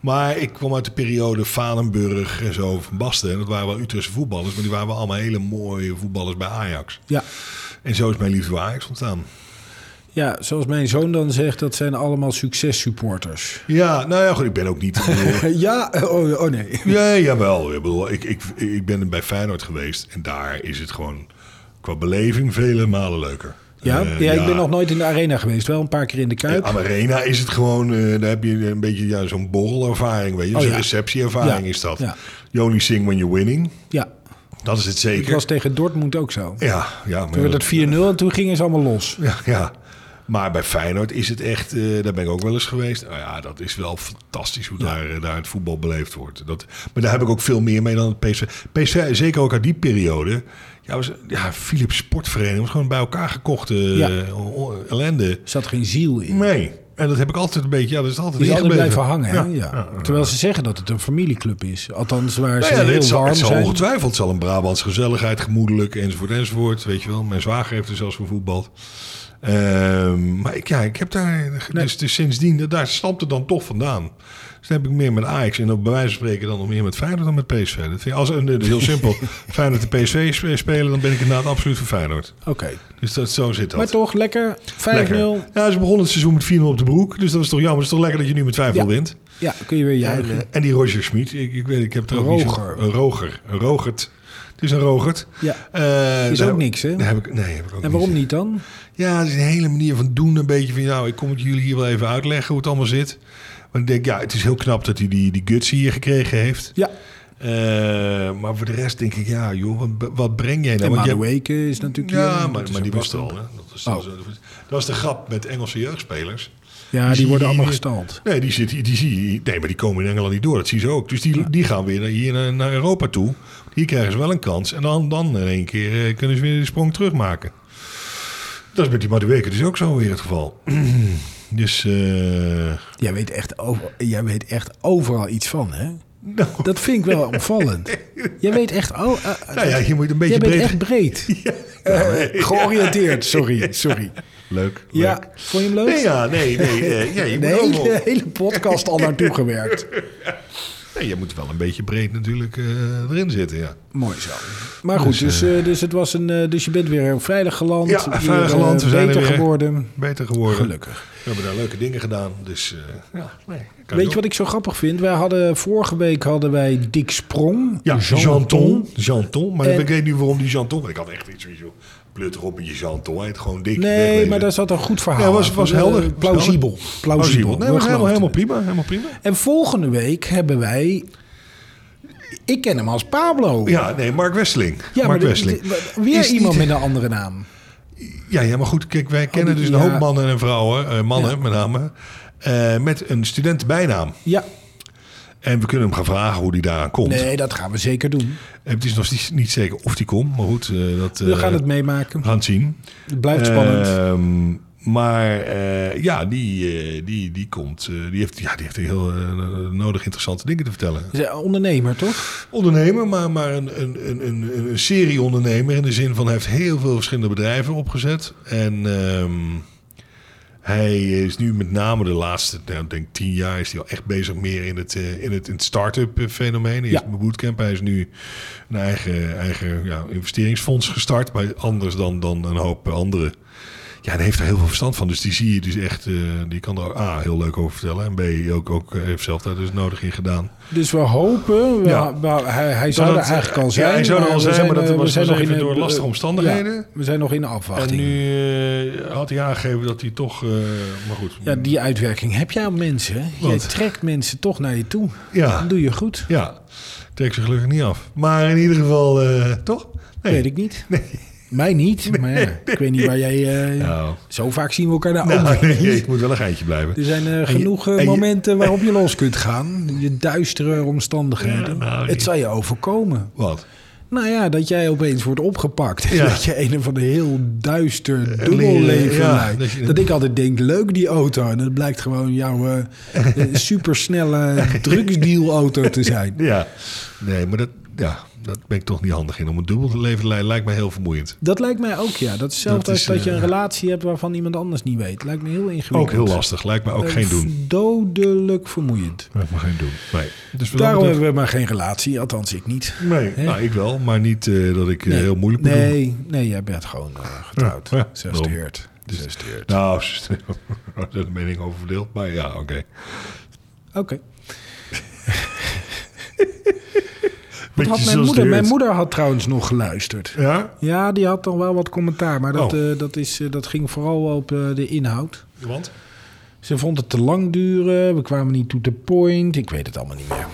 Speaker 4: Maar ik kwam uit de periode Valenburg en zo van Basten. En dat waren wel Utrechtse voetballers, maar die waren wel allemaal hele mooie voetballers bij Ajax.
Speaker 1: ja.
Speaker 4: En zo is mijn liefde voor Ajax ontstaan.
Speaker 1: Ja, zoals mijn zoon dan zegt, dat zijn allemaal successupporters.
Speaker 4: Ja, nou ja, goed, ik ben ook niet... ik bedoel,
Speaker 1: Ja, oh, oh nee.
Speaker 4: Ja, jawel. Ik, bedoel, ik, ik, ik ben bij Feyenoord geweest en daar is het gewoon qua beleving vele malen leuker.
Speaker 1: Ja,
Speaker 4: Eh,
Speaker 1: ja, ik ben nog nooit in de arena geweest. Wel een paar keer in de Kuip.
Speaker 4: Aan de arena is het gewoon, eh, daar heb je een beetje ja, zo'n borrelervaring, weet je.
Speaker 1: Oh,
Speaker 4: zo'n
Speaker 1: ja.
Speaker 4: receptieervaring
Speaker 1: Ja,
Speaker 4: is dat.
Speaker 1: ja.
Speaker 4: You only sing when you're winning.
Speaker 1: Ja,
Speaker 4: Dat is het
Speaker 1: ik
Speaker 4: zeker.
Speaker 1: was tegen Dortmund ook zo.
Speaker 4: Ja, ja.
Speaker 1: Toen
Speaker 4: Maar
Speaker 1: werd het 4-0 en toen gingen ze allemaal los.
Speaker 4: ja, ja. Maar bij Feyenoord is het echt, eh, daar ben ik ook wel eens geweest. Nou ja, dat is wel fantastisch hoe daar, eh, daar het voetbal beleefd wordt. Dat, maar daar heb ik ook veel meer mee dan het PSV. PSV, zeker ook uit die periode. Ja, was, ja Philips Sportvereniging was gewoon bij elkaar gekochte eh,
Speaker 1: Ja.
Speaker 4: o- o- ellende.
Speaker 1: Er zat geen ziel in.
Speaker 4: Nee. En dat heb ik altijd een beetje, ja, dat is altijd
Speaker 1: Die is altijd
Speaker 4: ingebleven.
Speaker 1: blijven hangen. hè?
Speaker 4: Ja.
Speaker 1: Ja. Terwijl ze zeggen dat het een familieclub is. Althans, waar
Speaker 4: Nou
Speaker 1: ze
Speaker 4: ja,
Speaker 1: heel
Speaker 4: het zal,
Speaker 1: warm
Speaker 4: het zal
Speaker 1: zijn.
Speaker 4: ongetwijfeld zal een Brabants gezelligheid, gemoedelijk enzovoort enzovoort. Weet je wel, mijn zwager heeft er zelfs voor voetbald. Ehm, maar ik, ja, ik heb daar, dus, dus sindsdien, dat- daar stamt het dan toch vandaan. Dus dan heb ik meer met Ajax en op bij wijze van spreken dan nog meer met Feyenoord dan met PSV. Dat vind ik, als, en, eh, dat is heel simpel, Feyenoord en PSV sp- spelen, dan ben ik inderdaad absoluut voor Feyenoord.
Speaker 1: Oké.
Speaker 4: Dus dat, zo zit dat.
Speaker 1: Maar toch, lekker. 5-0.
Speaker 4: Lekker. Ja, ze begonnen het seizoen met 4-0 op de broek, dus dat is toch jammer. Het is toch lekker dat je nu met 5-0
Speaker 1: Ja.
Speaker 4: wint.
Speaker 1: Ja, kun je weer
Speaker 4: En,
Speaker 1: juichen.
Speaker 4: eh, en die Roger Smit, ik, ik weet, ik heb het er ook niet zo-
Speaker 1: Roger.
Speaker 4: Een Roger, een Rogert. Het is een Rogert.
Speaker 1: Ja.
Speaker 4: Eh,
Speaker 1: Is
Speaker 4: daar
Speaker 1: ook
Speaker 4: heb-
Speaker 1: niks, hè?
Speaker 4: daar heb ik, nee, heb ik ook
Speaker 1: En waarom
Speaker 4: niet.
Speaker 1: niet dan?
Speaker 4: Ja, het is een hele manier van doen. Een beetje van, nou, ik kom het jullie hier wel even uitleggen hoe het allemaal zit. Want ik denk, ja, het is heel knap dat hij die, die guts hier gekregen heeft.
Speaker 1: Ja.
Speaker 4: Eh, maar voor de rest denk ik, ja, joh, wat, wat breng jij nou?
Speaker 1: En
Speaker 4: Want jij-
Speaker 1: Madueke is natuurlijk...
Speaker 4: ja,
Speaker 1: eh,
Speaker 4: maar,
Speaker 1: dat is
Speaker 4: maar die
Speaker 1: ook
Speaker 4: was er
Speaker 1: wel-
Speaker 4: al. Hè? Dat, is, dat is- dat is de grap met Engelse jeugdspelers.
Speaker 1: Oh. Ja, die
Speaker 4: zie
Speaker 1: worden
Speaker 4: je
Speaker 1: allemaal
Speaker 4: hier-
Speaker 1: gestald.
Speaker 4: Nee, die, zit, die, die zie je- Nee, maar die komen in Engeland niet door. Dat zie je ook. Dus die, die gaan weer naar- hier naar, naar Europa toe. Hier krijgen ze wel een kans. En dan, dan in één keer eh, kunnen ze weer de sprong terugmaken. Dat is met die Madueke dus ook zo weer het geval. dus, eh,
Speaker 1: Jij weet, echt over, jij weet echt overal iets van, hè?
Speaker 4: nou,
Speaker 1: Dat vind ik wel opvallend. Jij weet echt... Oh, eh,
Speaker 4: nou ja, je moet een beetje
Speaker 1: jij bent
Speaker 4: breed...
Speaker 1: echt breed. Eh, georiënteerd, sorry, sorry.
Speaker 4: Leuk,
Speaker 1: Ja,
Speaker 4: leuk.
Speaker 1: vond je hem leuk?
Speaker 4: Nee, ja, nee, nee. eh, ja, je, moet
Speaker 1: de
Speaker 4: ook
Speaker 1: hele,
Speaker 4: wel,
Speaker 1: hele podcast al naartoe gewerkt.
Speaker 4: nee, je moet wel een beetje breed natuurlijk eh, erin zitten, ja.
Speaker 1: Mooi zo. Maar goed, dus, eh, dus, het was een, eh, dus je bent weer veilig geland.
Speaker 4: Ja,
Speaker 1: weer,
Speaker 4: veilig
Speaker 1: eh,
Speaker 4: geland, we zijn er
Speaker 1: beter
Speaker 4: weer.
Speaker 1: geworden.
Speaker 4: Beter geworden.
Speaker 1: Gelukkig.
Speaker 4: We hebben daar leuke dingen gedaan, dus... eh, ja, nee, kan
Speaker 1: Weet
Speaker 4: ook.
Speaker 1: je wat ik zo grappig vind? Wij hadden, vorige week hadden wij Dick Sprong.
Speaker 4: Ja,
Speaker 1: Jean
Speaker 4: Janton.
Speaker 1: Ton.
Speaker 4: Janton. Maar
Speaker 1: En-
Speaker 4: ik weet niet waarom die Janton... Want ik had echt iets van, joh, pleut erop met je Janton. Hij heet gewoon dik.
Speaker 1: Nee,
Speaker 4: wegwezen.
Speaker 1: maar daar zat een goed verhaal.
Speaker 4: Ja, was,
Speaker 1: aan.
Speaker 4: was
Speaker 1: Eh,
Speaker 4: helder. Was
Speaker 1: plausibel.
Speaker 4: helder.
Speaker 1: Plausibel.
Speaker 4: Nee, maar
Speaker 1: We
Speaker 4: helemaal, helemaal
Speaker 1: geloofden.
Speaker 4: prima. Helemaal prima.
Speaker 1: En volgende week hebben wij... Ik ken hem als Pablo.
Speaker 4: Ja, nee, Mark Westeling.
Speaker 1: Ja,
Speaker 4: Mark
Speaker 1: maar
Speaker 4: Westeling.
Speaker 1: dit- dit- weer
Speaker 4: Is
Speaker 1: iemand
Speaker 4: niet-
Speaker 1: met een andere naam.
Speaker 4: Ja, ja, maar goed, kijk, wij kennen dus een
Speaker 1: Oh, ja.
Speaker 4: hoop mannen en vrouwen, eh, mannen
Speaker 1: Ja.
Speaker 4: met name, eh, met een studentenbijnaam.
Speaker 1: Ja,
Speaker 4: En we kunnen hem gaan vragen hoe die daaraan komt.
Speaker 1: nee, dat gaan we zeker doen.
Speaker 4: En Het is nog niet, niet zeker of die komt, maar goed, eh, dat
Speaker 1: We gaan
Speaker 4: eh,
Speaker 1: het meemaken.
Speaker 4: we gaan het zien.
Speaker 1: Het blijft
Speaker 4: Eh,
Speaker 1: spannend.
Speaker 4: Ehm, maar eh, ja, die, eh, die, die komt. eh, die, heeft, ja, die heeft heel eh, nodig interessante dingen te vertellen.
Speaker 1: Ze is een Ondernemer, toch?
Speaker 4: Ondernemer, maar, maar een, een, een, een, een serie ondernemer. In de zin van hij heeft heel veel verschillende bedrijven opgezet. En ehm, hij is nu met name de laatste, nou, ik denk tien jaar, is hij al echt bezig meer in het, eh, in het, in het start-up eh, fenomeen. Hij
Speaker 1: Ja.
Speaker 4: is een bootcamp. Hij is nu een eigen, eigen ja, investeringsfonds gestart. Maar anders dan, dan een hoop anderen. Ja, en hij heeft er heel veel verstand van. Dus die zie je dus echt. eh, die kan er A heel leuk over vertellen. En B ook, ook eh, heeft zelf daar dus nodig in gedaan.
Speaker 1: Dus we hopen, we-
Speaker 4: Ja.
Speaker 1: we- hij, hij zou
Speaker 4: Dat
Speaker 1: er
Speaker 4: het-
Speaker 1: eigenlijk
Speaker 4: ja,
Speaker 1: al zijn.
Speaker 4: hij zou er al
Speaker 1: we
Speaker 4: zijn, maar dat
Speaker 1: eh, we
Speaker 4: was- was even
Speaker 1: de-
Speaker 4: door lastige omstandigheden.
Speaker 1: Ja, we zijn nog in de afwachting.
Speaker 4: En nu eh, had hij aangegeven dat hij toch. eh, maar goed.
Speaker 1: Ja, die uitwerking heb jij op mensen. hè? Jij
Speaker 4: Wat?
Speaker 1: trekt mensen toch naar je toe.
Speaker 4: Ja.
Speaker 1: Dat doe je goed.
Speaker 4: Ja, trek ze gelukkig niet af. Maar in ieder geval, eh, toch? Nee.
Speaker 1: Weet ik niet. Mij niet, maar ja, ik weet niet waar jij... eh,
Speaker 4: Nou.
Speaker 1: Zo vaak zien we elkaar daar
Speaker 4: Nou,
Speaker 1: ook weer
Speaker 4: nee,
Speaker 1: niet.
Speaker 4: ik moet wel een geintje blijven.
Speaker 1: Er zijn eh, genoeg eh,
Speaker 4: en je-
Speaker 1: momenten waarop je los kunt gaan. Je duistere omstandigheden.
Speaker 4: Ja, nou,
Speaker 1: het zal je overkomen.
Speaker 4: Wat?
Speaker 1: Nou ja, dat jij opeens wordt opgepakt.
Speaker 4: Ja.
Speaker 1: Dat je een van de heel duister
Speaker 4: leren,
Speaker 1: dubbelleven
Speaker 4: ja.
Speaker 1: lijkt.
Speaker 4: Dat
Speaker 1: Dat,
Speaker 4: je-
Speaker 1: ik altijd denk, leuk die auto. En dat blijkt gewoon jouw eh, eh, supersnelle drugsdealauto te zijn.
Speaker 4: Ja. Nee, maar dat, ja, dat ben ik toch niet handig in. Om een dubbel te leven lij- lijkt mij heel vermoeiend.
Speaker 1: Dat lijkt mij ook, ja. Dat is hetzelfde
Speaker 4: Dat
Speaker 1: als
Speaker 4: is,
Speaker 1: dat je
Speaker 4: eh,
Speaker 1: een relatie hebt waarvan iemand anders niet weet. Lijkt me heel ingewikkeld. Eh,
Speaker 4: Ook heel lastig. Lijkt mij ook geen doen.
Speaker 1: Dodelijk vermoeiend.
Speaker 4: Lijkt me geen doen. Nee. Dus wat
Speaker 1: Daarom
Speaker 4: dat betreft-
Speaker 1: hebben we maar geen relatie. Althans, ik niet.
Speaker 4: Nee, nou, ik wel. Maar niet eh, dat ik eh, heel moeilijk moet doen.
Speaker 1: nee, nee, jij bent gewoon eh, getrouwd.
Speaker 4: Ja, ja,
Speaker 1: Zes
Speaker 4: daarom.
Speaker 1: deurt. Zes deurt.
Speaker 4: Nou, daar is de mening over verdeeld. Maar ja, oké.
Speaker 1: Oké. Wat
Speaker 4: Beetje
Speaker 1: had mijn
Speaker 4: zoals
Speaker 1: moeder?
Speaker 4: de
Speaker 1: Mijn
Speaker 4: hut.
Speaker 1: moeder had trouwens nog geluisterd.
Speaker 4: Ja?
Speaker 1: Ja, die had dan wel wat commentaar, maar dat,
Speaker 4: Oh.
Speaker 1: eh, dat, is, eh, dat ging vooral op eh, de inhoud.
Speaker 4: Want?
Speaker 1: Ze vond het te lang duren, we kwamen niet to the point. Ik weet het allemaal niet meer.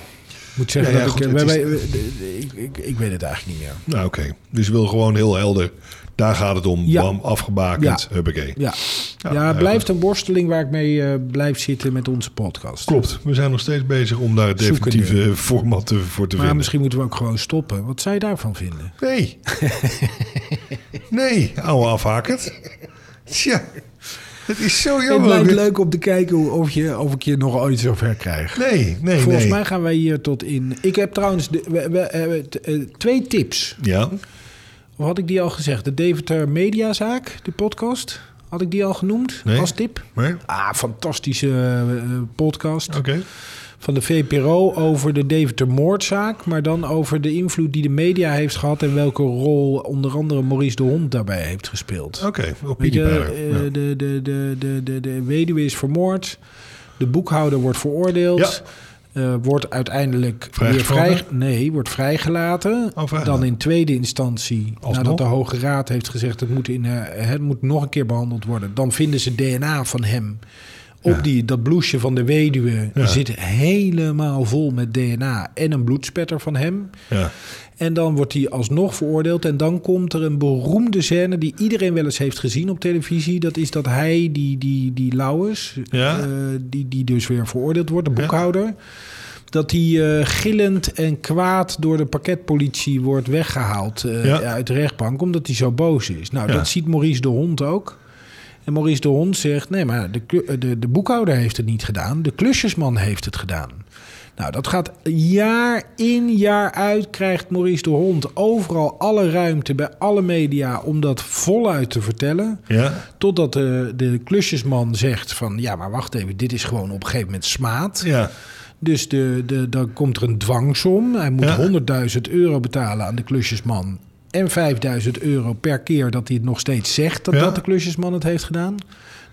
Speaker 1: Ik moet zeggen
Speaker 4: Ja, ja,
Speaker 1: dat ik,
Speaker 4: goed,
Speaker 1: eh,
Speaker 4: het
Speaker 1: wij- wij- eh, ik, ik... Ik weet het eigenlijk niet meer.
Speaker 4: Nou, oké. Dus je wil gewoon heel helder. Daar gaat het om.
Speaker 1: Ja.
Speaker 4: Bam, afgebakend.
Speaker 1: Ja.
Speaker 4: Huppakee.
Speaker 1: Ja,
Speaker 4: Ja,
Speaker 1: ja,
Speaker 4: nou ja,
Speaker 1: het blijft een worsteling waar ik mee eh, blijf zitten met onze podcast.
Speaker 4: Klopt. We zijn nog steeds bezig om daar het
Speaker 1: Zoeken
Speaker 4: definitieve format te- voor te
Speaker 1: Maar
Speaker 4: vinden.
Speaker 1: misschien moeten we ook gewoon stoppen. Wat zou je daarvan vinden?
Speaker 4: Nee. nee, ouwe afhakert. Tja. Het is zo
Speaker 1: Het
Speaker 4: jammer.
Speaker 1: lijkt leuk om te kijken hoe- of, je, of ik je nog ooit zover krijg.
Speaker 4: Nee, nee,
Speaker 1: Volgens
Speaker 4: Eh, nee.
Speaker 1: mij gaan wij hier tot in. Ik heb trouwens de- we- we- eh, t- eh, twee tips.
Speaker 4: Ja.
Speaker 1: Of had ik die al gezegd? De Deventer Mediazaak, de podcast. Had ik die al genoemd
Speaker 4: Nee.
Speaker 1: als tip?
Speaker 4: Maar,
Speaker 1: Ah, fantastische eh, podcast
Speaker 4: oké.
Speaker 1: van de VPRO over de Deventer moordzaak. Maar dan over de invloed die de media heeft gehad en welke rol onder andere Maurice de Hond daarbij heeft gespeeld.
Speaker 4: Oké,
Speaker 1: Weet
Speaker 4: opinie
Speaker 1: je,
Speaker 4: verder.
Speaker 1: eh,
Speaker 4: Ja.
Speaker 1: de, de, de, de, de, de weduwe is vermoord. De boekhouder wordt veroordeeld. eh, wordt uiteindelijk weer
Speaker 4: Vrijgesproken? Oh,
Speaker 1: vrij, nee, wordt vrijgelaten.
Speaker 4: vrijgelaten.
Speaker 1: dan in tweede instantie,
Speaker 4: Alsnog?
Speaker 1: nadat de Hoge Raad heeft gezegd... het moet, in, eh, het moet nog een keer behandeld worden. Dan vinden ze DNA van hem Op die, dat blouseje van de weduwe
Speaker 4: Ja.
Speaker 1: zit helemaal vol met DNA en een bloedspetter van hem.
Speaker 4: Ja.
Speaker 1: En dan wordt hij alsnog veroordeeld. En dan komt er een beroemde scène die iedereen wel eens heeft gezien op televisie. Dat is dat hij, die, die, die Lauwers,
Speaker 4: Ja.
Speaker 1: eh, die, die dus weer veroordeeld wordt, de boekhouder. Dat hij eh, gillend en kwaad door de pakketpolitie wordt weggehaald eh,
Speaker 4: Ja.
Speaker 1: uit de rechtbank. Omdat hij zo boos is. Nou,
Speaker 4: Ja.
Speaker 1: dat ziet Maurice de Hond ook. En Maurice de Hond zegt, nee, maar de, klu- eh, de, de boekhouder heeft het niet gedaan. De klusjesman heeft het gedaan. Nou, dat gaat jaar in, jaar uit krijgt Maurice de Hond overal alle ruimte bij alle media om dat voluit te vertellen.
Speaker 4: Ja.
Speaker 1: Totdat de, de klusjesman zegt van, ja, maar wacht even, dit is gewoon op een gegeven moment smaad.
Speaker 4: Ja.
Speaker 1: Dus de, de, dan komt er een dwangsom. Hij moet
Speaker 4: Ja.
Speaker 1: 100.000 euro betalen aan de klusjesman. En 5.000 euro per keer dat hij het nog steeds zegt dat,
Speaker 4: Ja.
Speaker 1: dat de klusjesman het heeft gedaan.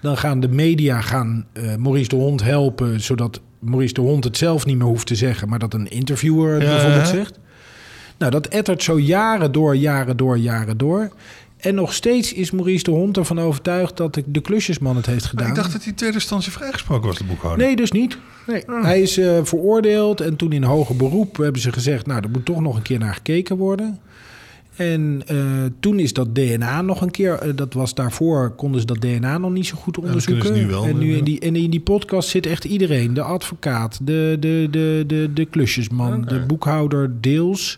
Speaker 1: Dan gaan de media gaan, eh, Maurice de Hond helpen... zodat Maurice de Hond het zelf niet meer hoeft te zeggen... maar dat een interviewer het
Speaker 4: Ja,
Speaker 1: bijvoorbeeld
Speaker 4: ja.
Speaker 1: zegt. Nou, dat ettert zo jaren door, jaren door, jaren door. En nog steeds is Maurice de Hond ervan overtuigd... dat de, de klusjesman het heeft
Speaker 4: Maar
Speaker 1: gedaan.
Speaker 4: ik dacht dat hij in tweede instantie vrijgesproken was, de boekhouder.
Speaker 1: Nee, dus niet. Nee.
Speaker 4: Ah.
Speaker 1: Hij is eh, veroordeeld en toen in hoger beroep hebben ze gezegd... nou, er moet toch nog een keer naar gekeken worden. En eh, toen is dat DNA nog een keer... eh, dat was daarvoor, konden ze dat DNA nog niet zo goed
Speaker 4: dat kunnen
Speaker 1: onderzoeken.
Speaker 4: ze nu wel,
Speaker 1: en, nu
Speaker 4: ja.
Speaker 1: in die, en in die podcast zit echt iedereen. De advocaat, de, de, de, de, de klusjesman, de boekhouder deels...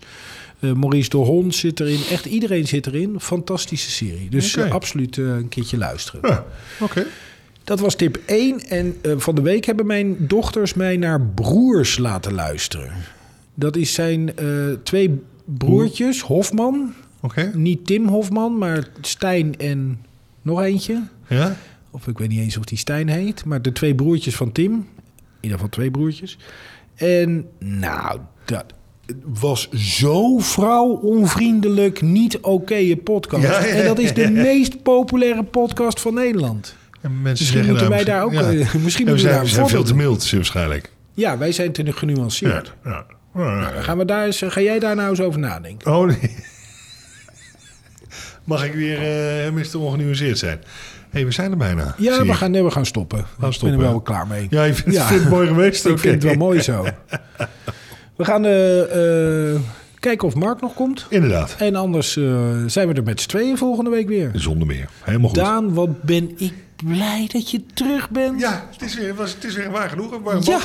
Speaker 1: Eh, Maurice de Hond zit erin. Echt iedereen zit erin. Fantastische serie. Dus
Speaker 4: Oké.
Speaker 1: eh, absoluut eh, een keertje luisteren.
Speaker 4: Ja. Oké.
Speaker 1: Dat was tip 1. En eh, van de week hebben mijn dochters mij naar broers laten luisteren. Dat is zijn eh, twee broertjes, Hofman.
Speaker 4: Oké.
Speaker 1: Niet Tim Hofman, maar Stijn en nog eentje.
Speaker 4: Ja.
Speaker 1: Of ik weet niet eens of die Stijn heet. Maar de twee broertjes van Tim. In ieder geval twee broertjes. En nou, dat was zo vrouwonvriendelijk, niet oké podcast.
Speaker 4: Ja, ja,
Speaker 1: En dat is de
Speaker 4: ja, ja.
Speaker 1: meest populaire podcast van Nederland.
Speaker 4: En mensen
Speaker 1: Misschien
Speaker 4: zeggen
Speaker 1: moeten wij
Speaker 4: nou,
Speaker 1: daar ook, eh, misschien
Speaker 4: Ja,
Speaker 1: moeten
Speaker 4: we
Speaker 1: we
Speaker 4: zijn,
Speaker 1: daar een
Speaker 4: we zijn veel
Speaker 1: voorbeeld
Speaker 4: te mild, zeer waarschijnlijk.
Speaker 1: Ja, wij zijn te genuanceerd.
Speaker 4: Ja. Ja.
Speaker 1: Gaan we daar eens, ga jij daar nou eens over nadenken?
Speaker 4: Oh nee. Mag ik weer eh mister ongenuanceerd zijn? Hé, hey, we zijn er bijna.
Speaker 1: Ja,
Speaker 4: zie
Speaker 1: we
Speaker 4: ik.
Speaker 1: gaan, nee, we gaan stoppen. Ik ben
Speaker 4: stoppen,
Speaker 1: er wel
Speaker 4: hè?
Speaker 1: klaar mee.
Speaker 4: Ja, je vindt,
Speaker 1: Ja.
Speaker 4: vindt het mooi geweest?
Speaker 1: ik
Speaker 4: Oké.
Speaker 1: vind het wel mooi zo. We gaan eh, eh, kijken of Mark nog komt.
Speaker 4: Inderdaad,
Speaker 1: En anders eh, zijn we er met z'n tweeën volgende week weer.
Speaker 4: zonder meer. Helemaal goed.
Speaker 1: Daan, wat ben ik blij dat je terug bent.
Speaker 4: Ja, het is weer, was, het is weer waar genoeg. Waar
Speaker 1: Ja.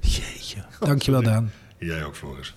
Speaker 1: Jeetje. Dankjewel, Daan.
Speaker 4: Jij ook, Floris.